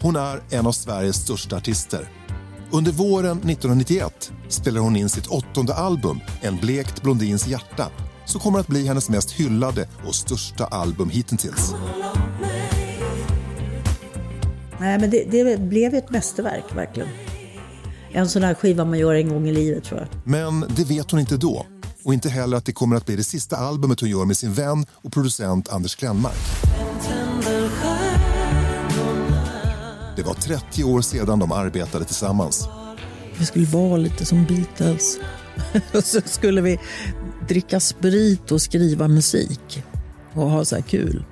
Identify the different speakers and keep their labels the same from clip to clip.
Speaker 1: Hon är en av Sveriges största artister. Under våren 1991 spelar hon in sitt åttonde album En blekt blondins hjärta som kommer att bli hennes mest hyllade och största album hittills.
Speaker 2: Nej, men det, det blev ett mästerverk verkligen. En sån här skiva man gör en gång i livet tror jag.
Speaker 1: Men det vet hon inte då och inte heller att det kommer att bli det sista albumet hon gör med sin vän och producent Anders Glenmark. Det var 30 år sedan de arbetade tillsammans.
Speaker 3: Vi skulle vara lite som Beatles. och så skulle vi dricka sprit och skriva musik och ha så här kul.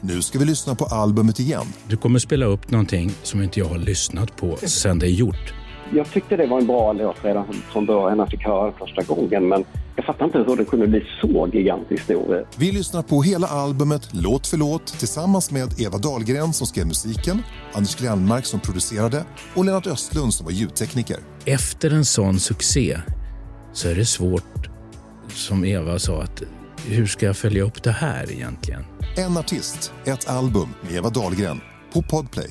Speaker 1: Nu ska vi lyssna på albumet igen
Speaker 4: Du kommer spela upp någonting som inte jag har lyssnat på sen det är gjort.
Speaker 5: Jag tyckte det var en bra låt redan från början när jag fick höra den första gången men jag fattar inte hur den kunde bli så gigantiskt stor. eh,
Speaker 1: Vi lyssnar på hela albumet låt för låt tillsammans med Eva Dahlgren som skrev musiken, Anders Glenmark som producerade och Lennart Östlund som var ljudtekniker.
Speaker 4: Efter en sån succé så är det svårt, som Eva sa, att hur ska jag följa upp det här egentligen?
Speaker 1: En artist, ett album med Eva Dahlgren på Podplay.